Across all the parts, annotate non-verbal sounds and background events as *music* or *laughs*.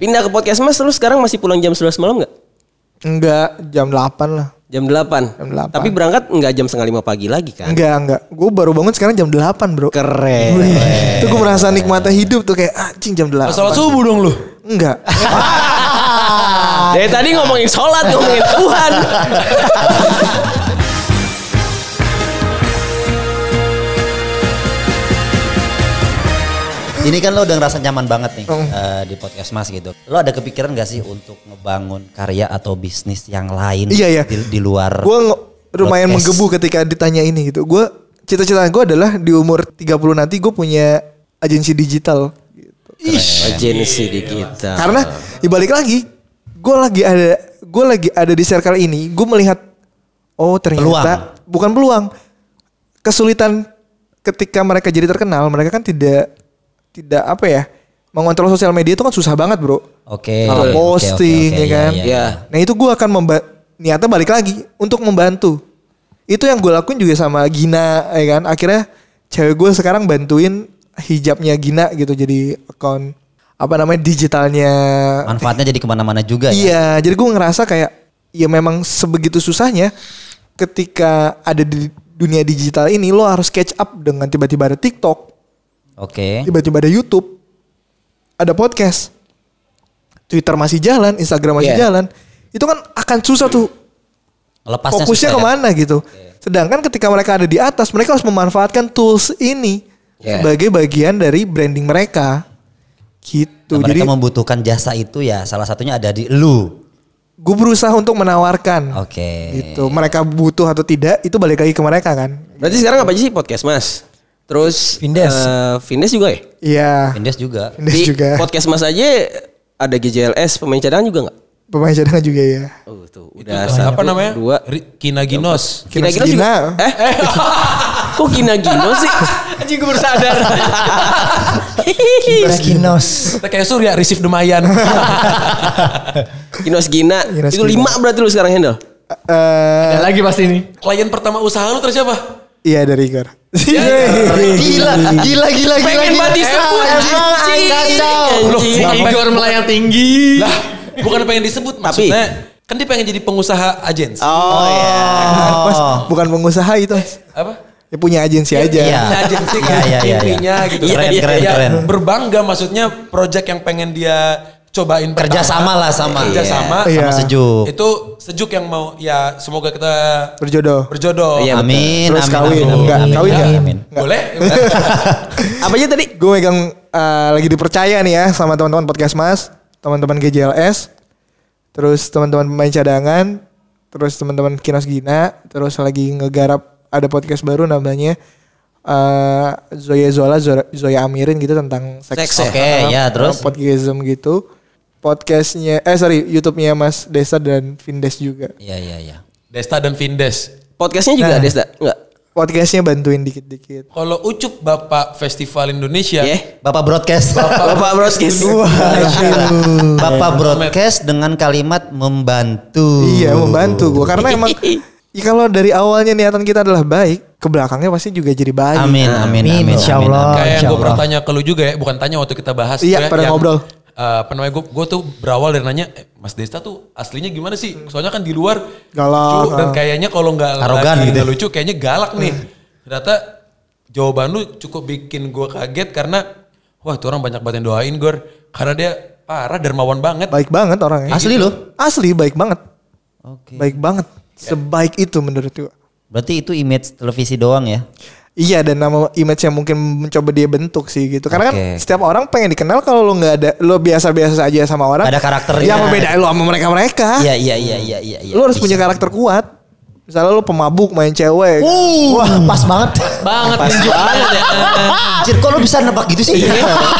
Pindah ke podcast Mas lu sekarang masih pulang jam 11 malam nggak? Enggak, jam 8 lah. Jam 8. Jam 8. Tapi berangkat nggak jam setengah 5 pagi lagi kan? Enggak, enggak. Gue baru bangun sekarang jam 8 bro. Keren. Wih, Itu gue merasa nikmatnya hidup tuh kayak anjing jam 8. Salat subuh dong lu. Enggak. Dari tadi ngomongin sholat, ngomongin *laughs* Tuhan. Ini kan lo udah ngerasa nyaman banget nih Mm. eh, di podcast Mas gitu. Lo ada kepikiran gak sih untuk ngebangun karya atau bisnis yang lain Iya, iya. Di, di luar? gue lumayan Podcast. menggebu ketika ditanya ini gitu. Gue cita-cita gue adalah di umur 30 nanti gue punya agensi digital. gitu. Agensi di kita. Karena dibalik lagi, gue lagi ada gue lagi ada di circle ini. Gue melihat oh ternyata bukan peluang, kesulitan ketika mereka jadi terkenal. Mereka kan tidak tidak apa ya mengontrol sosial media itu kan susah banget bro. Oke. Kalau oke, oke, posting oke, ya iya, kan. iya, Iya. Nah itu gue akan memba- niatnya balik lagi untuk membantu. Itu yang gue lakuin juga sama Gina ya kan. Akhirnya cewek gue sekarang bantuin hijabnya Gina gitu jadi akun apa namanya digitalnya. Manfaatnya jadi kemana-mana juga ya. Iya jadi gue ngerasa kayak ya memang sebegitu susahnya ketika ada di dunia digital ini lo harus catch up dengan tiba-tiba ada TikTok, Oke. tiba-tiba ada YouTube, ada podcast, Twitter masih jalan, Instagram masih Iya. jalan, itu kan akan susah tuh Lepasnya fokusnya susah ya. kemana gitu. Sedangkan ketika mereka ada di atas, mereka harus memanfaatkan tools ini Iya. sebagai bagian dari branding mereka, Nah, gitu. mereka Jadi membutuhkan jasa itu ya salah satunya ada di lu. gue berusaha untuk menawarkan, Oke. gitu. Mereka butuh atau tidak itu balik lagi ke mereka kan. Berarti sekarang apa aja sih podcast Mas? Terus Vindes. eh, Vindes juga ya? Iya, Indes juga. Vindes Di juga, podcast Mas aja ada GJLS pemain cadangan juga nggak? pemain cadangan juga ya. Oh tuh Itu udah apa satu, namanya? dua Ri- Kinaginos. Kira Kina-kina juga? *laughs* Eh? Kok kina-gino sih? Anjing gue baru *laughs* sadar. Kinos. Kita kayak Surya receive demayan. Nah, Ginos Gina. Ginos Itu Gina. lima berarti lu sekarang handle? Eh, lagi pasti nih. Klien pertama usaha lu terus siapa? Iya dari Igor. Ya, Iya. Gila, gila, gila, gila. Pengen Batista Iya, Emang, pun, emang, anjing. kacau. Anjing. Bukan pengen- Igor melayang tinggi. Lah, bukan pengen disebut Tapi- maksudnya. Kan dia pengen jadi pengusaha agensi. Oh iya. Mas, bukan pengusaha itu. Mas. Apa? Ya punya agensi aja. Oh. Iya. Punya agensi kan Iya, iya, iya, intinya iya. gitu. Keren, Iya, keren, iya. keren. Berbangga maksudnya project yang pengen dia cobain pertama. Kerjasama lah sama. Kerjasama. Iya. Sama sejuk. Itu sejuk yang mau ya semoga kita Berjodoh. berjodoh. Iya, Amin, Terus amin, kawin. amin, Enggak, amin, kawin enggak? amin. Boleh? Apa aja tadi? Gue megang eh, lagi dipercaya nih ya sama teman-teman podcast Mas, teman-teman GJLS, terus teman-teman pemain cadangan, terus teman-teman Kinos Gina, terus lagi ngegarap ada podcast baru namanya eh, Zoya Zola, Zora- Zoya Amirin gitu tentang seks. Seks ya? Oke, ya, terus? Podcastism gitu. Podcastnya, eh sorry, YouTube-nya Mas Desa dan Vindes juga. Iya, iya, iya. Desta dan Vindes. Podcastnya juga ada, Desda? Enggak. Podcastnya bantuin dikit-dikit. Kalau Ucup Bapak Festival Indonesia, Iya. Bapak broadcast. Bapak Broskis. *laughs* Bapak broadcast dengan kalimat membantu. Iya membantu gue karena *laughs* emang ya kalau dari awalnya niatan kita adalah baik, ke belakangnya pasti juga jadi baik. Amin, amin, amin. Amin, insya amin, Allah. amin. kayak yang insya gue pernah Allah. tanya ke lu juga ya, bukan tanya waktu kita bahas. Ah, Iya, tuh ya, pernah yang, ngobrol. eh, apa namanya gue gue tuh berawal dari nanya eh, Mas Desta tuh aslinya gimana sih? Soalnya kan di luar Galak, lucu ah. dan Hmm. kayaknya kalau nggak Arogan lagi gitu. nggak lucu kayaknya galak nih. Ternyata jawaban lu cukup bikin gue kaget karena wah tuh orang banyak banget yang doain Gor karena dia parah dermawan banget. Baik banget orangnya. Asli loh. Asli baik banget. Oke. Ya. Baik banget. Sebaik itu menurut gue. Berarti itu image televisi doang ya? Iya dan nama image yang mungkin mencoba dia bentuk sih gitu. Karena kan Oke. setiap orang pengen dikenal kalau lo nggak ada lo biasa-biasa aja sama orang. Ada karakternya. Yang membedain lo sama mereka-mereka. Iya, iya, iya, iya, iya. iya. Lo harus Bisa. punya karakter kuat. Misalnya lo pemabuk main Oh. cewek. Uh, Wah, pas banget. banget Ninju. Anjir, kok lo bisa nebak gitu sih?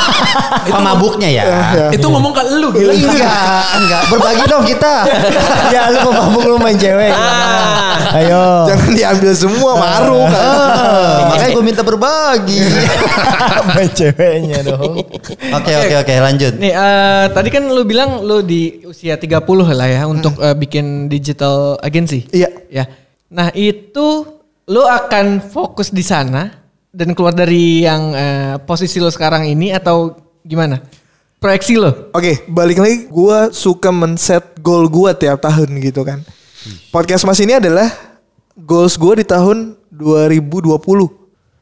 *laughs* Pemabuknya ya? Iya. Itu ngomong ke lu Iya, gila. enggak, enggak. Berbagi dong kita. ya lu mau mabuk lu main cewek. Ayo. Jangan diambil *laughs* semua maruk. Ah, makanya gue minta *laughs* berbagi. main ceweknya dong. Oke, oke, oke, lanjut. *laughs* Nih, eh, tadi kan lu bilang lu di usia 30 lah ya untuk eh, bikin digital agency. Iya. Ya. Nah, itu lu akan fokus di sana dan keluar dari yang eh, posisi lu sekarang ini atau gimana? proyeksi lo. Oke, balik lagi gua suka men-set goal gua tiap tahun gitu kan. Podcast Mas ini adalah goals gua di tahun 2020.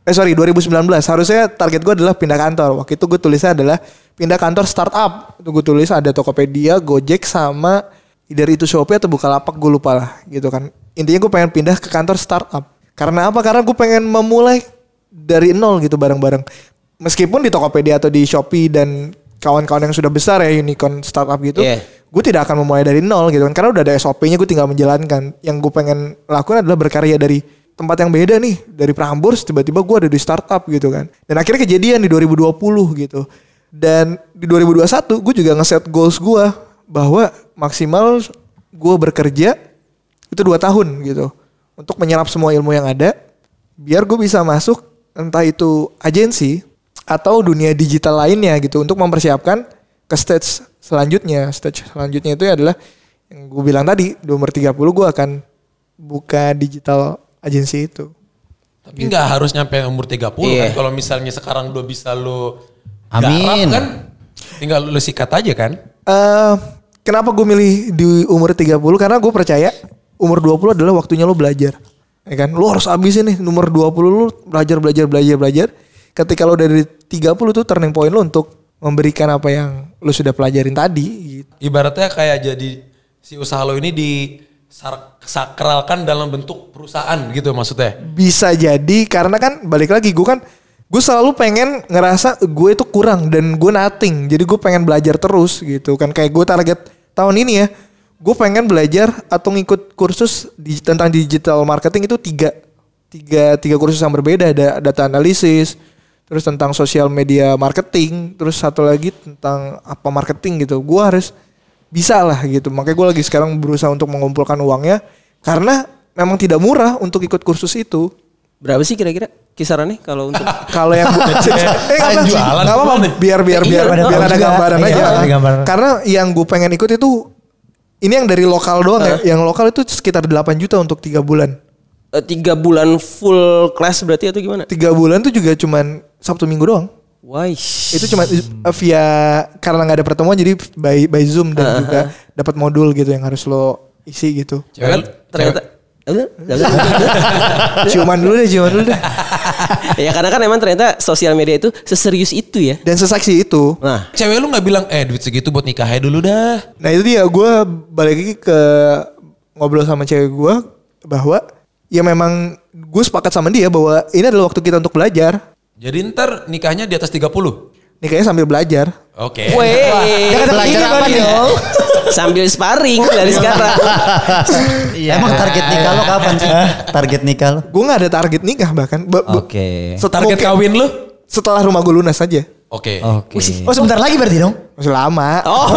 Eh sorry 2019 harusnya target gua adalah pindah kantor. Waktu itu gue tulisnya adalah pindah kantor startup. Itu gue tulis ada Tokopedia, Gojek sama dari itu Shopee atau Bukalapak gue lupa lah gitu kan. Intinya gue pengen pindah ke kantor startup. Karena apa? Karena gue pengen memulai dari nol gitu bareng-bareng meskipun di Tokopedia atau di Shopee dan kawan-kawan yang sudah besar ya unicorn startup gitu, Iya. gue tidak akan memulai dari nol gitu kan, karena udah ada SOP-nya gue tinggal menjalankan. Yang gue pengen lakukan adalah berkarya dari tempat yang beda nih, dari Prambors tiba-tiba gue ada di startup gitu kan. Dan akhirnya kejadian di 2020 gitu. Dan di 2021 gue juga ngeset goals gue bahwa maksimal gue bekerja itu dua tahun gitu untuk menyerap semua ilmu yang ada biar gue bisa masuk entah itu agensi atau dunia digital lainnya gitu untuk mempersiapkan ke stage selanjutnya stage selanjutnya itu adalah yang gue bilang tadi di umur 30 gue akan buka digital agensi itu Tapi nggak Gitu. harus nyampe umur 30 Iya. kan. Kalau misalnya sekarang udah bisa lu Amin. garap kan. Tinggal lu sikat aja kan. eh kenapa gue milih di umur 30? Karena gue percaya umur 20 adalah waktunya lo belajar. Ya kan? Lo harus habisin nih nomor 20 lo belajar, belajar, belajar, belajar. Ketika lo dari 30 tuh turning point lo untuk memberikan apa yang lo sudah pelajarin tadi gitu. Ibaratnya kayak jadi si usaha lo ini disakralkan dalam bentuk perusahaan gitu maksudnya. Bisa jadi karena kan balik lagi gue kan gue selalu pengen ngerasa gue itu kurang dan gue nothing. Jadi gue pengen belajar terus gitu kan. Kayak gue target tahun ini ya. Gue pengen belajar atau ngikut kursus di, tentang digital marketing itu tiga tiga tiga kursus yang berbeda ada data analisis terus tentang sosial media marketing terus satu lagi tentang apa marketing gitu gue harus bisa lah gitu makanya gue lagi sekarang berusaha untuk mengumpulkan uangnya karena memang tidak murah untuk ikut kursus itu Berapa sih kira-kira kisarannya kalau untuk kalau yang bu- eh, nggak apa- Jualan nggak apa-apa gimana? biar biar Eh, iya, biar bener. biar ada Juga. gambaran Iya, aja ada kan. gambaran. karena yang gue pengen ikut itu ini yang dari lokal doang ya yang lokal itu sekitar 8 juta untuk tiga bulan eh, tiga bulan full class berarti atau gimana? tiga bulan tuh juga cuman sabtu minggu doang Wah, itu cuma eh, via karena nggak ada pertemuan jadi by by zoom dan juga dapat modul gitu yang harus lo isi gitu Cewek, ternyata ciuman dulu deh ciuman dulu deh ya karena kan emang ternyata sosial media itu seserius itu ya. dan sesaksi itu Nah, cewek, cewek lu nggak bilang eh duit segitu buat nikahnya dulu dah. nah itu dia gue balik lagi ke ngobrol sama cewek gue bahwa ya memang gue sepakat sama dia bahwa ini adalah waktu kita untuk belajar Jadi ntar nikahnya di atas 30. Oke. nikahnya sambil belajar weh, Belajar apa nih? sambil sparring dari sekarang. Emang target nikah lo kapan sih? Target nikah lo? gue nggak ada target nikah bahkan Ba- ba- Oke. set- Target mungkin kawin lu? setelah rumah gue lunas aja Oke. Oke. Oh sebentar lagi berarti dong. masih lama Oh,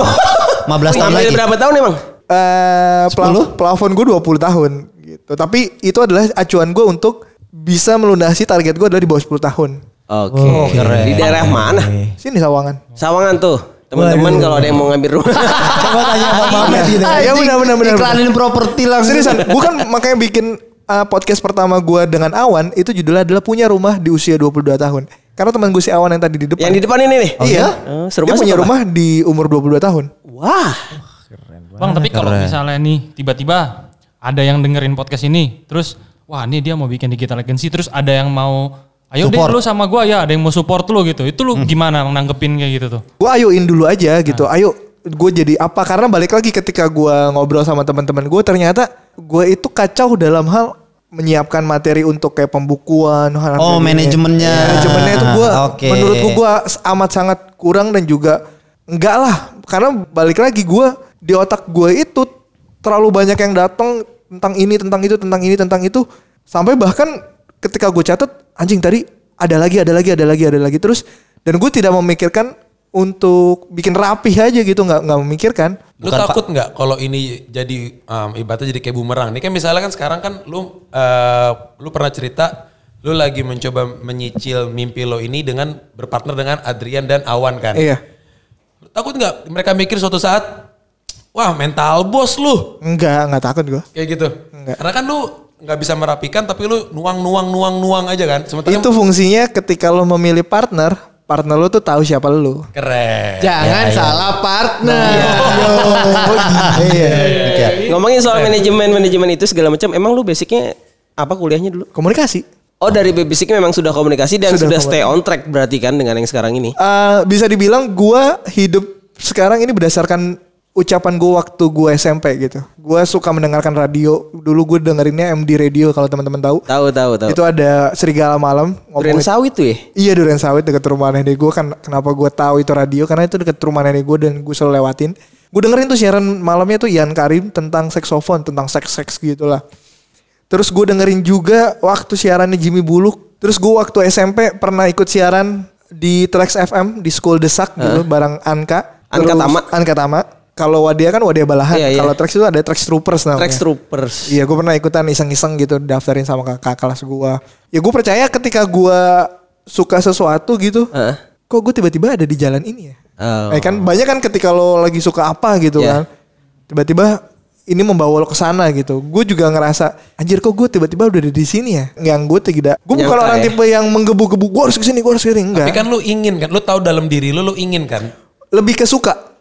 15 tahun Sambil lagi. berapa tahun emang? eh pelaf- pelafon gue 20 tahun gitu. Tapi itu adalah acuan gue untuk bisa melunasi target gue adalah di bawah 10 tahun. Oke. Oh, Di daerah mana? Sini Sawangan. Sawangan tuh. Teman-teman Waduh. kalau ada yang mau ngambil *laughs* rumah. Coba tanya Bang Mamet gitu. Ya Iya, Anjing, benar, benar, benar. Iklanin properti langsung. Seriusan, gue kan *laughs* makanya bikin eh, podcast pertama gue dengan Awan itu judulnya adalah punya rumah di usia 22 tahun. Karena teman gue si Awan yang tadi di depan. yang di depan ini nih. Iya. Oh, Dia serumah punya siapa? rumah di umur 22 tahun. Wah. Bang, tapi kalau misalnya nih tiba-tiba ada yang dengerin podcast ini, terus wah ini dia mau bikin digital agency, terus ada yang mau ayo Support. deh lu sama gua ya, ada yang mau support lu gitu. Itu lu gimana menanggepin kayak gitu tuh? gue ayoin dulu aja gitu Ah. ayo gue jadi apa karena balik lagi ketika gue ngobrol sama teman-teman gue ternyata gue itu kacau dalam hal menyiapkan materi untuk kayak pembukuan hal-hal Oh, kayak gini. manajemennya. Ah, manajemennya itu gue Oke. menurut gue amat sangat kurang dan juga enggak lah karena balik lagi gue di otak gue itu terlalu banyak yang datang tentang ini tentang itu tentang ini tentang itu sampai bahkan ketika gue catat anjing tadi ada lagi ada lagi ada lagi ada lagi terus dan gue tidak memikirkan untuk bikin rapih aja gitu nggak nggak memikirkan Lu takut nggak kalau ini jadi um, ibaratnya jadi kayak bumerang? Ini kan misalnya kan sekarang kan lu eh, lu pernah cerita lu lagi mencoba menyicil mimpi lo ini dengan berpartner dengan Adrian dan Awan kan? iya Lu takut nggak mereka mikir suatu saat wah mental bos lu nggak nggak takut gue kayak gitu? Karena kan lu nggak bisa merapikan tapi lu nuang nuang nuang nuang aja kan? Sementara itu fungsinya ketika lo memilih partner partner lu tuh tahu siapa lu. Ya, Keren. Jangan salah partner. Ah, Iya. Ngomongin soal manajemen-manajemen itu segala macam, emang lu basicnya apa kuliahnya dulu? Komunikasi. Oh dari basicnya memang sudah komunikasi dan sudah, Sudah stay on track berarti kan dengan yang sekarang ini. Eh, bisa dibilang gua hidup sekarang ini berdasarkan ucapan gua waktu gua SMP gitu. Gua suka mendengarkan radio. Dulu gue dengerinnya MD Radio kalau teman-teman tahu. Tahu tahu tahu. Itu ada serigala malam Duren ngomongin- sawit tuh ya. Iya durian sawit deket rumah nenek gue kan kenapa gue tahu itu radio karena itu deket rumah nenek gue dan gue selalu lewatin. Gue dengerin tuh siaran malamnya tuh Ian Karim tentang seksofon tentang seks seks gitulah. Terus gue dengerin juga waktu siarannya Jimmy Buluk. Terus gue waktu SMP pernah ikut siaran di Trax FM di School Desak dulu bareng Anka. Anka Terus- Tama. Anka Tama. Kalau Wadia kan Wadia Balahan. Iya, iya. Kalau Trax itu ada Trax Troopers namanya. Track Troopers. Iya gue pernah ikutan iseng-iseng gitu daftarin sama kakak kelas gue. Ya gue percaya ketika gue suka sesuatu gitu. Heeh. Kok gue tiba-tiba ada di jalan ini ya? Oh. Eh kan banyak kan ketika lo lagi suka apa gitu Iya. kan. Tiba-tiba ini membawa lo ke sana gitu. Gue juga ngerasa anjir kok gue tiba-tiba udah ada di sini ya. Yang gue tidak. Gue bukan Nyangka orang ya. tipe yang menggebu-gebu. Gue harus kesini, gue harus kesini. Enggak. Tapi kan lu ingin kan, lu tahu dalam diri lu, lu ingin kan. Lebih ke suka.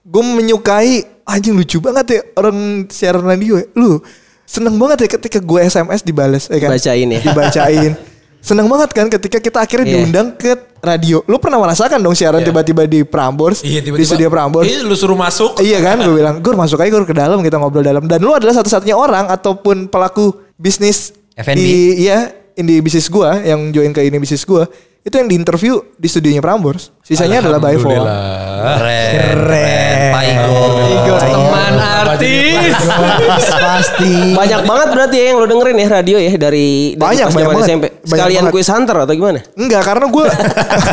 Gue menyukai anjing lucu banget ya orang siaran radio ya. Lu seneng banget ya ketika gue SMS dibales. Ya kan? Dibacain ya. *laughs* Dibacain. Seneng banget kan ketika kita akhirnya Iya. diundang ke radio. Lu pernah merasakan dong siaran tiba-tiba di Prambors. Di studio Prambors. Iya, lu suruh masuk. Iya kan gue bilang Gur masuk aja Gur ke dalam kita ngobrol dalam Dan lu adalah satu-satunya orang Ataupun pelaku bisnis F&B. di, Iya Ini bisnis gue Yang join ke ini bisnis gue Itu yang diinterview Di studionya Prambors Sisanya adalah by phone Alhamdulillah. Keren. Keren. Pak Igo. Teman artis. Pasti. Banyak banget berarti ya yang lo dengerin ya radio ya dari, dari Banyak, pas banyak zaman banget. SMP. Banyak Sekalian banget. quiz hunter atau gimana? Enggak karena gue *laughs*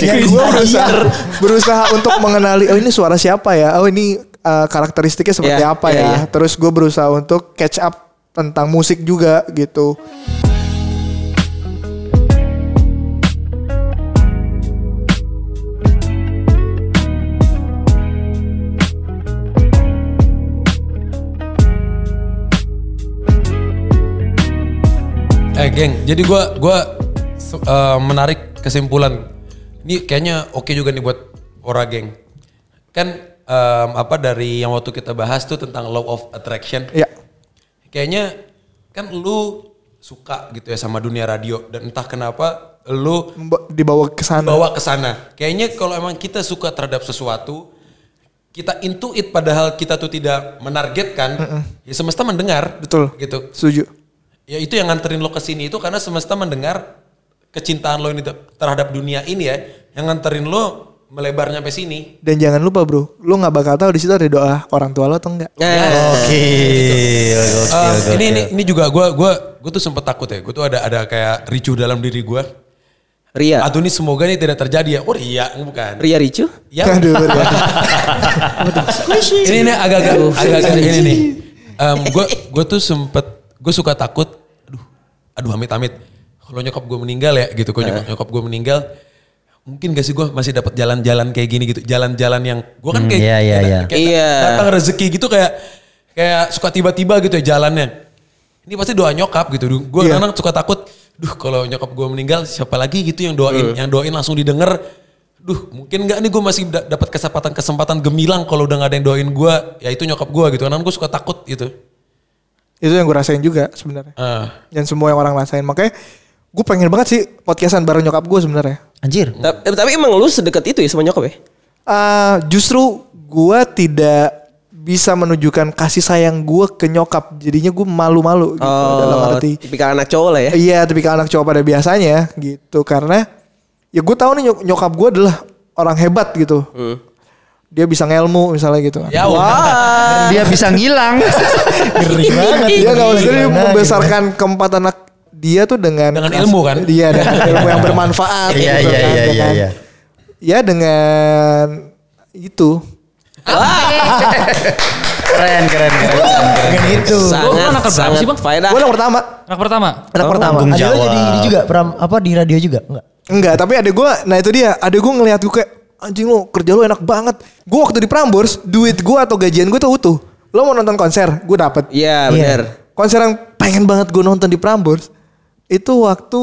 ya, Gue berusaha Berusaha untuk mengenali Oh ini suara siapa ya Oh ini uh, karakteristiknya seperti Iya, apa iya, ya iya. Terus gue berusaha untuk catch up Tentang musik juga gitu Eh geng, jadi gua gua se- eh, menarik kesimpulan. Ini kayaknya oke juga nih buat ora geng. Kan em, apa dari yang waktu kita bahas tuh tentang law of attraction. Iya. Ya Kayaknya kan lu suka gitu ya sama dunia radio dan entah kenapa lu Memba- Dibawa ke sana bawa ke sana. Kayaknya kalau emang kita suka terhadap sesuatu, kita intuit padahal kita tuh tidak menargetkan, ya semesta mendengar. Betul. Gitu. Setuju Ya itu yang nganterin lo ke sini itu karena semesta mendengar kecintaan lo ini ter- terhadap dunia ini ya, yang nganterin lo melebarnya sampai sini. Dan jangan lupa bro, lu nggak bakal tahu di situ ada doa orang tua lo atau enggak. Eh, Gokil, gokil, Eh, ini ini gokil. ini juga gua gua gua tuh sempet takut ya. Gua tuh ada ada kayak ricu dalam diri gua. Ya. Ria. Aduh ini semoga ini tidak terjadi ya. Oh iya, bukan. Ria Ricu? Ya, *laughs* Kan. Aduh, aduh. ini nih agak-agak *laughs* agak-agak ini nih. *laughs* gue gue tuh sempet gue suka takut. Aduh, aduh amit-amit. Kalau nyokap gue meninggal ya gitu, kalau nyokap, nyokap gue meninggal, mungkin gak sih gue masih dapat jalan-jalan kayak gini gitu, jalan-jalan yang gue kan Hmm, kayak, iya, iya, kayak- iya. kayak Iya. datang rezeki gitu kayak kayak suka tiba-tiba gitu ya jalannya. Ini pasti doa nyokap gitu. Gue Iya. kadang suka takut, duh kalau nyokap gue meninggal siapa lagi gitu yang Hmm. doain, yang doain langsung didengar. Duh, mungkin nggak nih gue masih da- dapat kesempatan-kesempatan gemilang kalau udah nggak ada yang doain gue, ya itu nyokap gue gitu. Karena gue suka takut gitu. Itu yang gue rasain juga sebenarnya. Ah. Dan semua yang orang rasain. Makanya gue pengen banget sih podcastan bareng nyokap gue sebenarnya. Anjir. Ta- eh, Tapi, emang lu sedekat itu ya sama nyokap ya? Ah, justru gue tidak bisa menunjukkan kasih sayang gue ke nyokap. Jadinya gue malu-malu gitu Oh, dalam arti. tipikal anak cowok lah ya. Iya, tapi anak cowok pada biasanya gitu karena ya gue tahu nih nyok- nyokap gue adalah orang hebat gitu. Hmm. Dia bisa ngelmu misalnya gitu. Ya wah. Dia bisa ngilang. *laughs* Ngeri banget. Iya nggak maksudnya dia Gimana, membesarkan keempat anak dia tuh dengan Dengan ilmu, kan? Iya *laughs* dengan ilmu yang bermanfaat. Iya, gitu iya, kan, iya, dengan- iya, iya. Ya dengan itu. Keren, keren, keren. Bukan itu. gitu. Lu anak keberapa sih, Bang? faedah. Nah. Gue yang pertama. Anak pertama. Anak pertama. Tanggung Ada lo jawab. jadi ini juga Pram apa di radio juga? Enggak. Enggak, tapi ada gue. Nah itu dia. Ada gue ngelihat gue kayak anjing lo kerja lo enak banget. Gue waktu di Prambors, duit gue atau gajian gue tuh utuh. Lo mau nonton konser, gue dapet. Iya benar. Konser yang pengen banget gue nonton di Prambors itu waktu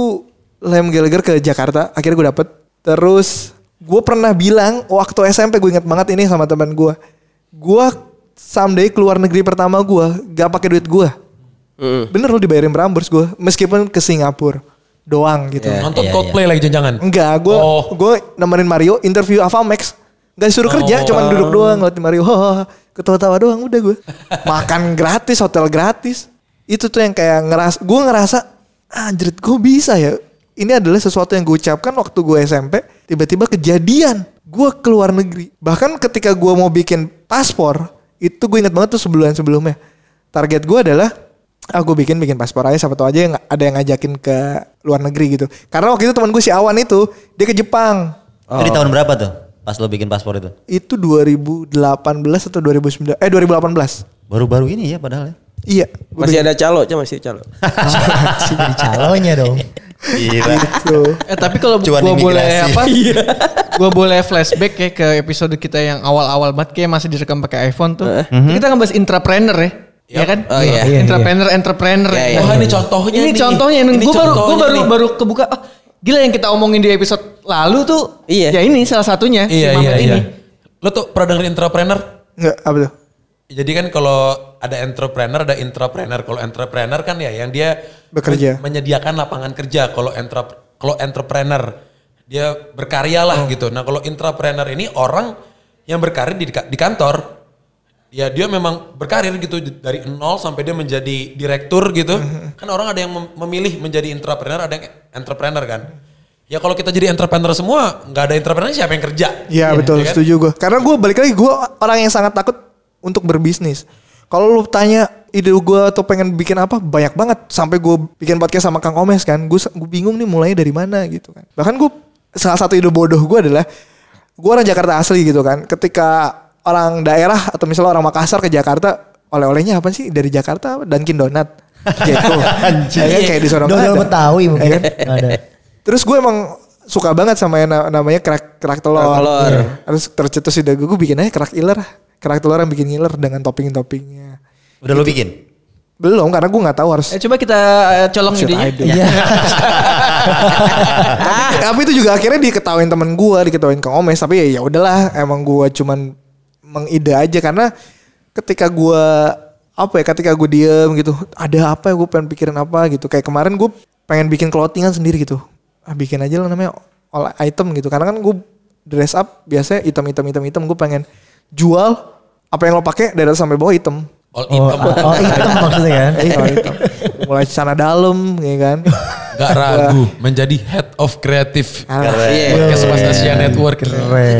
Lem Gallagher ke Jakarta akhirnya gue dapet Terus gue pernah bilang waktu SMP gue inget banget ini sama teman gue. Gue someday keluar negeri pertama gue gak pakai duit gue. Bener lu dibayarin Prambors gue meskipun ke Singapura doang gitu. Nonton Iya, iya. Coldplay lagi jangan-jangan. Enggak, gue Oh. gue nemenin Mario interview Avamax. Gak disuruh kerja, cuman duduk doang ngeliatin Mario. *laughs* Hahaha, ketawa-tawa doang udah gue. Makan gratis, hotel gratis. Itu tuh yang kayak ngeras, gue ngerasa anjir gue bisa ya. Ini adalah sesuatu yang gue ucapkan waktu gue SMP. Tiba-tiba kejadian, gue keluar negeri. Bahkan ketika gue mau bikin paspor, itu gue inget banget tuh sebulan sebelumnya. Target gue adalah aku Ah, bikin bikin paspor aja siapa tau aja yang ada yang ngajakin ke luar negeri gitu karena waktu itu teman gue si Awan itu dia ke Jepang Itu di tahun berapa tuh? Pas lo bikin paspor itu? itu 2018 atau 2019 eh 2018 Baru-baru ini ya padahal ya. iya Masih ada calo, Cak, masih calo. Masih jadi calonnya dong. gitu Eh tapi kalau Cuan gua boleh imigrasi. *laughs* apa? Iya. gua boleh flashback ya ke episode kita yang awal-awal banget kayak masih direkam pakai iPhone tuh. Eh. Mhm. Kita ngebahas intrapreneur ya. Ya kan? Oh, Iya, iya. iya. Intrapreneur, entrepreneur. Iya, iya. Wah, Nah, ini contohnya ini nih. contohnya Ini gue baru gua contohnya baru nih. baru kebuka ah, gila yang kita omongin di episode lalu tuh Iya. ya ini salah satunya Iya, Mamet iya, iya. ini Lo tuh pernah dengerin entrepreneur? nggak apa tuh Jadi kan kalau ada entrepreneur, ada intrapreneur. Kalau entrepreneur kan ya yang dia Bekerja. men- menyediakan lapangan kerja. Kalau entrep kalau entrepreneur dia berkarya lah Hmm. gitu. Nah kalau intrapreneur ini orang yang berkarir di, di kantor. Ya dia memang berkarir gitu dari nol sampai dia menjadi direktur gitu. Hmm. Kan orang ada yang mem- memilih menjadi intrapreneur, ada yang entrepreneur kan. Ya kalau kita jadi entrepreneur semua, nggak ada entrepreneur siapa yang kerja? Iya betul, kan? setuju gue. Karena gue balik lagi gue orang yang sangat takut untuk berbisnis. Kalau lu tanya ide gue atau pengen bikin apa banyak banget sampai gue bikin podcast sama Kang Omes kan, gue bingung nih mulainya dari mana gitu kan. Bahkan gue salah satu ide bodoh gue adalah gue orang Jakarta asli gitu kan. Ketika orang daerah atau misalnya orang Makassar ke Jakarta oleh-olehnya apa sih dari Jakarta Dunkin *laughs* Donat. Gitu. Ya kan, kayak di Surabaya. Dodol ada. Betawi mungkin. Ya kan? Ada. Terus gue emang suka banget sama yang na- namanya kerak kerak telur. Kerak telur. Iya. Terus tercetus di dagu gue bikin aja kerak iler. Kerak telur yang bikin iler dengan topping-toppingnya. Udah lo bikin? Belum karena gue nggak tahu harus. Eh, coba kita eh, colong should idenya I do? *laughs* tapi, tapi itu juga akhirnya diketawain temen gue, diketawain Kang Omes. Tapi ya ya udahlah, emang gue cuman mengide aja karena ketika gue apa ya ketika gue diem gitu ada apa ya gue pengen pikirin apa gitu kayak kemarin gue pengen bikin clothingan sendiri gitu ah, bikin aja lah namanya all item gitu karena kan gue dress up biasanya item item item item gue pengen jual apa yang lo pakai dari atas sampai bawah item All Oh, income. oh iya, hitam maksudnya kan. Eh, all item. mulai sana dalam ya kan Gak ragu menjadi head of creative Ah, iya. Iya. podcast Mas Asia Network. Keren.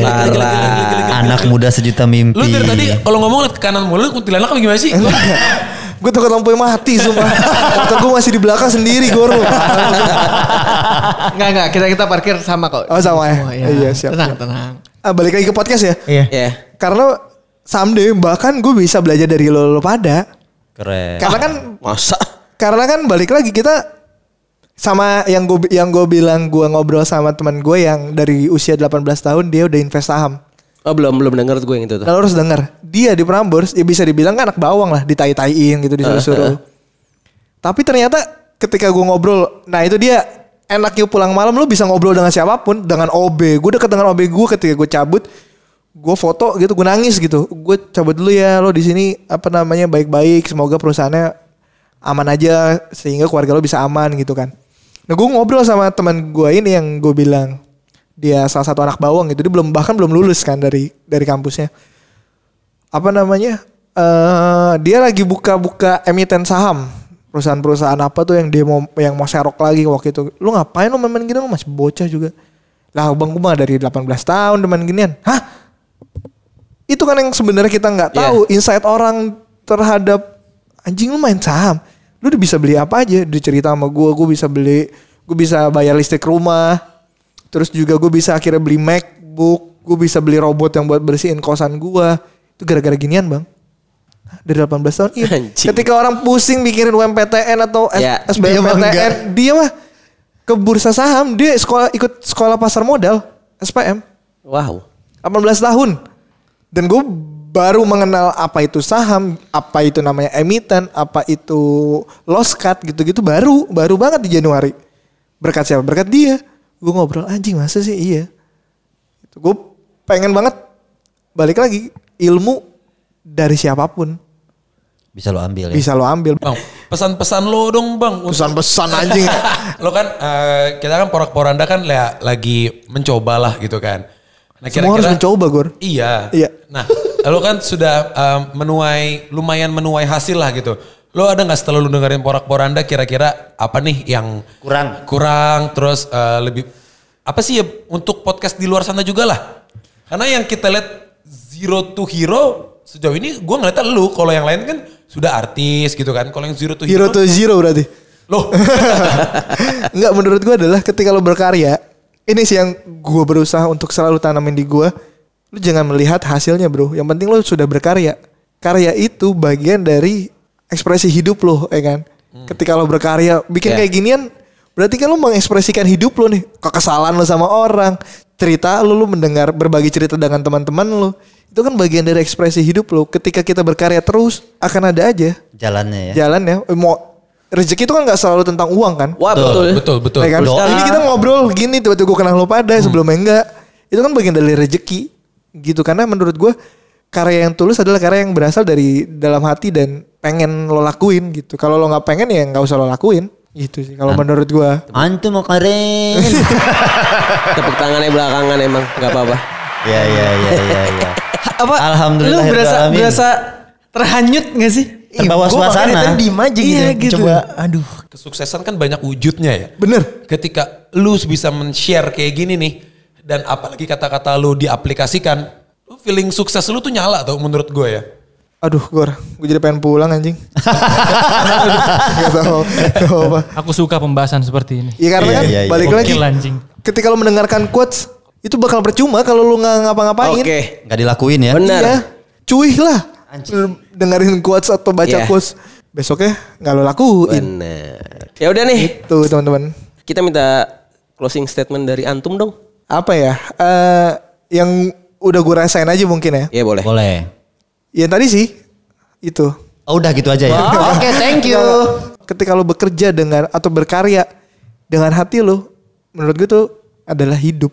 Anak muda sejuta mimpi. Lu dari tadi kalau ngomong liat ke kanan mulu, kuntilanak apa gimana sih? *laughs* gue takut lampu mati sumpah. Motor gue masih di belakang sendiri goro. Enggak enggak kita kita parkir sama kok Oh, sama ya? Semua, Iya, siap, tenang siap. tenang Ah, balik lagi ke podcast ya. Iya. Ya. Karena someday bahkan gue bisa belajar dari lo lo pada. Iya. Keren. Karena kan Masa? karena kan balik lagi kita sama yang gue yang gue bilang gue ngobrol sama teman gue yang dari usia 18 tahun dia udah invest saham. Oh belum belum denger gue yang itu tuh. Kalau harus denger, dia di Prambors ya bisa dibilang kan anak bawang lah, ditai-taiin gitu disuruh-suruh. Tapi ternyata ketika gue ngobrol, nah itu dia enaknya pulang malam lu bisa ngobrol dengan siapapun, dengan OB. Gue deket dengan OB gue ketika gue cabut, gue foto gitu, gue nangis gitu. Gue cabut dulu ya, lo di sini apa namanya baik-baik, semoga perusahaannya aman aja sehingga keluarga lo bisa aman gitu kan. Nah gue ngobrol sama teman gue ini yang gue bilang dia salah satu anak bawang gitu, dia belum bahkan belum lulus kan dari dari kampusnya apa namanya eh dia lagi buka-buka emiten saham perusahaan-perusahaan apa tuh yang demo yang mau serok lagi waktu itu lu ngapain lu main-main gini lu masih bocah juga lah bang gue mah dari 18 tahun demen ginian hah itu kan yang sebenarnya kita nggak Iya. tahu insight orang terhadap anjing lu main saham lu udah bisa beli apa aja dicerita sama gue gue bisa beli gue bisa bayar listrik rumah terus juga gue bisa akhirnya beli macbook gue bisa beli robot yang buat bersihin kosan gue itu gara-gara ginian bang Hah, dari 18 tahun iya Anjing. ketika orang pusing mikirin UMPTN atau S- Ya, Iya. dia mah enggak. SBMPTN dia mah ke bursa saham dia sekolah ikut sekolah pasar modal SPM Wow. 18 tahun. Dan gue baru mengenal apa itu saham, apa itu namanya emiten, apa itu loss cut gitu-gitu baru, baru banget di Januari. Berkat siapa? Berkat dia. Gue ngobrol anjing masa sih iya. gue pengen banget balik lagi ilmu dari siapapun Bisa lo ambil ya. bisa lo ambil Bang, pesan-pesan lo dong bang. untuk- pesan-pesan anjing lo kan eh, kita kan porak-poranda kan la- lagi mencoba lah gitu kan. Nah, semua harus mencoba Gor Iya. Iya. Nah, lo kan sudah um, menuai lumayan menuai hasil lah gitu. Lo ada nggak setelah lo dengerin porak-poranda kira-kira apa nih yang Kurang. kurang terus uh, lebih apa sih ya untuk podcast di luar sana juga lah. Karena yang kita lihat zero to hero sejauh ini gue ngeliatnya lu kalau yang lain kan sudah artis gitu kan kalau yang zero to hero hero, to zero berarti *laughs* loh Enggak menurut gue adalah ketika lo berkarya ini sih yang gue berusaha untuk selalu tanamin di gue lu jangan melihat hasilnya bro yang penting lo sudah berkarya karya itu bagian dari ekspresi hidup lo ya kan ketika lo berkarya bikin kayak ginian berarti kan lo mengekspresikan hidup lo nih kekesalan lo sama orang cerita lo lo mendengar berbagi cerita dengan teman-teman lo itu kan bagian dari ekspresi hidup lo ketika kita berkarya terus akan ada aja Jalannya ya. jalan ya mau rezeki itu kan nggak selalu tentang uang kan Wah betul. betul betul Ya kan? Doa. Ini Ah. kita ngobrol gini tiba-tiba gue kenal lo pada sebelumnya enggak. Itu kan bagian dari rezeki gitu karena menurut gue karya yang tulus adalah karya yang berasal dari dalam hati dan pengen lo lakuin gitu. Kalau lo nggak pengen ya nggak usah lo lakuin gitu sih kalau menurut gue. Antum mau keren. Tepuk tangannya belakangan emang nggak apa-apa. Ya ya ya ya ya. Apa? Alhamdulillah, ya, Lu berasa Rabbil Alamin. berasa terhanyut gak sih? Terbawa Iya, Gua makanya suasana. tadi diem aja gitu. Iya, gitu. *laughs* Coba aduh. kesuksesan kan banyak wujudnya ya Bener. ketika lu bisa men-share kayak gini nih dan apalagi kata-kata lu diaplikasikan lu feeling sukses lu tuh nyala tuh menurut gue ya Aduh Gor, gue jadi pengen pulang anjing. Gak tau, gak apa. Aku suka pembahasan seperti ini. Ya karena Iya, kan iya, iya. balik lagi Gokil anjing. ketika lo mendengarkan quotes itu bakal percuma kalau lo nggak ngapa-ngapain. Oke. Gak dilakuin ya. Benar. Iya, cuy lah. Hmm, Anjing. Dengerin quotes atau baca Iya. quotes. Besoknya nggak lo lakuin. Benar. Ya udah nih, Tuh teman-teman. kita minta closing statement dari antum dong. Apa ya? Eh yang udah gue rasain aja mungkin ya. Iya boleh. Boleh. Iya. Yang tadi sih itu. Oh udah gitu aja ya. Oke thank Iya. you. Ketika lo bekerja dengan atau berkarya dengan hati lo, menurut gue tuh adalah hidup.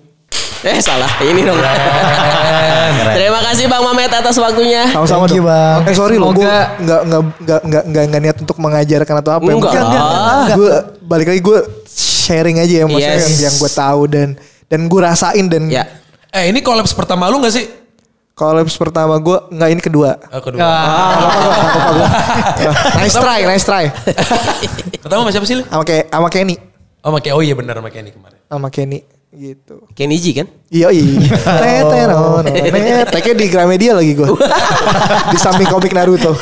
Eh salah, ini dong. *laughs* Terima kasih Bang Mamet atas waktunya. Sama-sama Thank you, dong. Bang. Eh sorry lo, gue Semoga- nggak nggak nggak nggak nggak nggak niat untuk mengajarkan atau apa. Enggak lah. Gue balik lagi gue sharing aja ya maksudnya Yes. yang, yang gue tahu dan dan gue rasain dan Ya. eh ini kolaps pertama lu gak sih Collabs pertama gue nggak ini *laughs* kedua. Eh, Ah. kedua Ah. nice try, nice try. pertama sama siapa sih lu Sama kayak sama Kenny, oh sama Ke- oh iya benar sama Kenny kemarin sama Kenny gitu. Keniji kan? Iya *laughs* iya. Teterono, *laughs* Teknya di Gramedia lagi gue. di samping komik Naruto.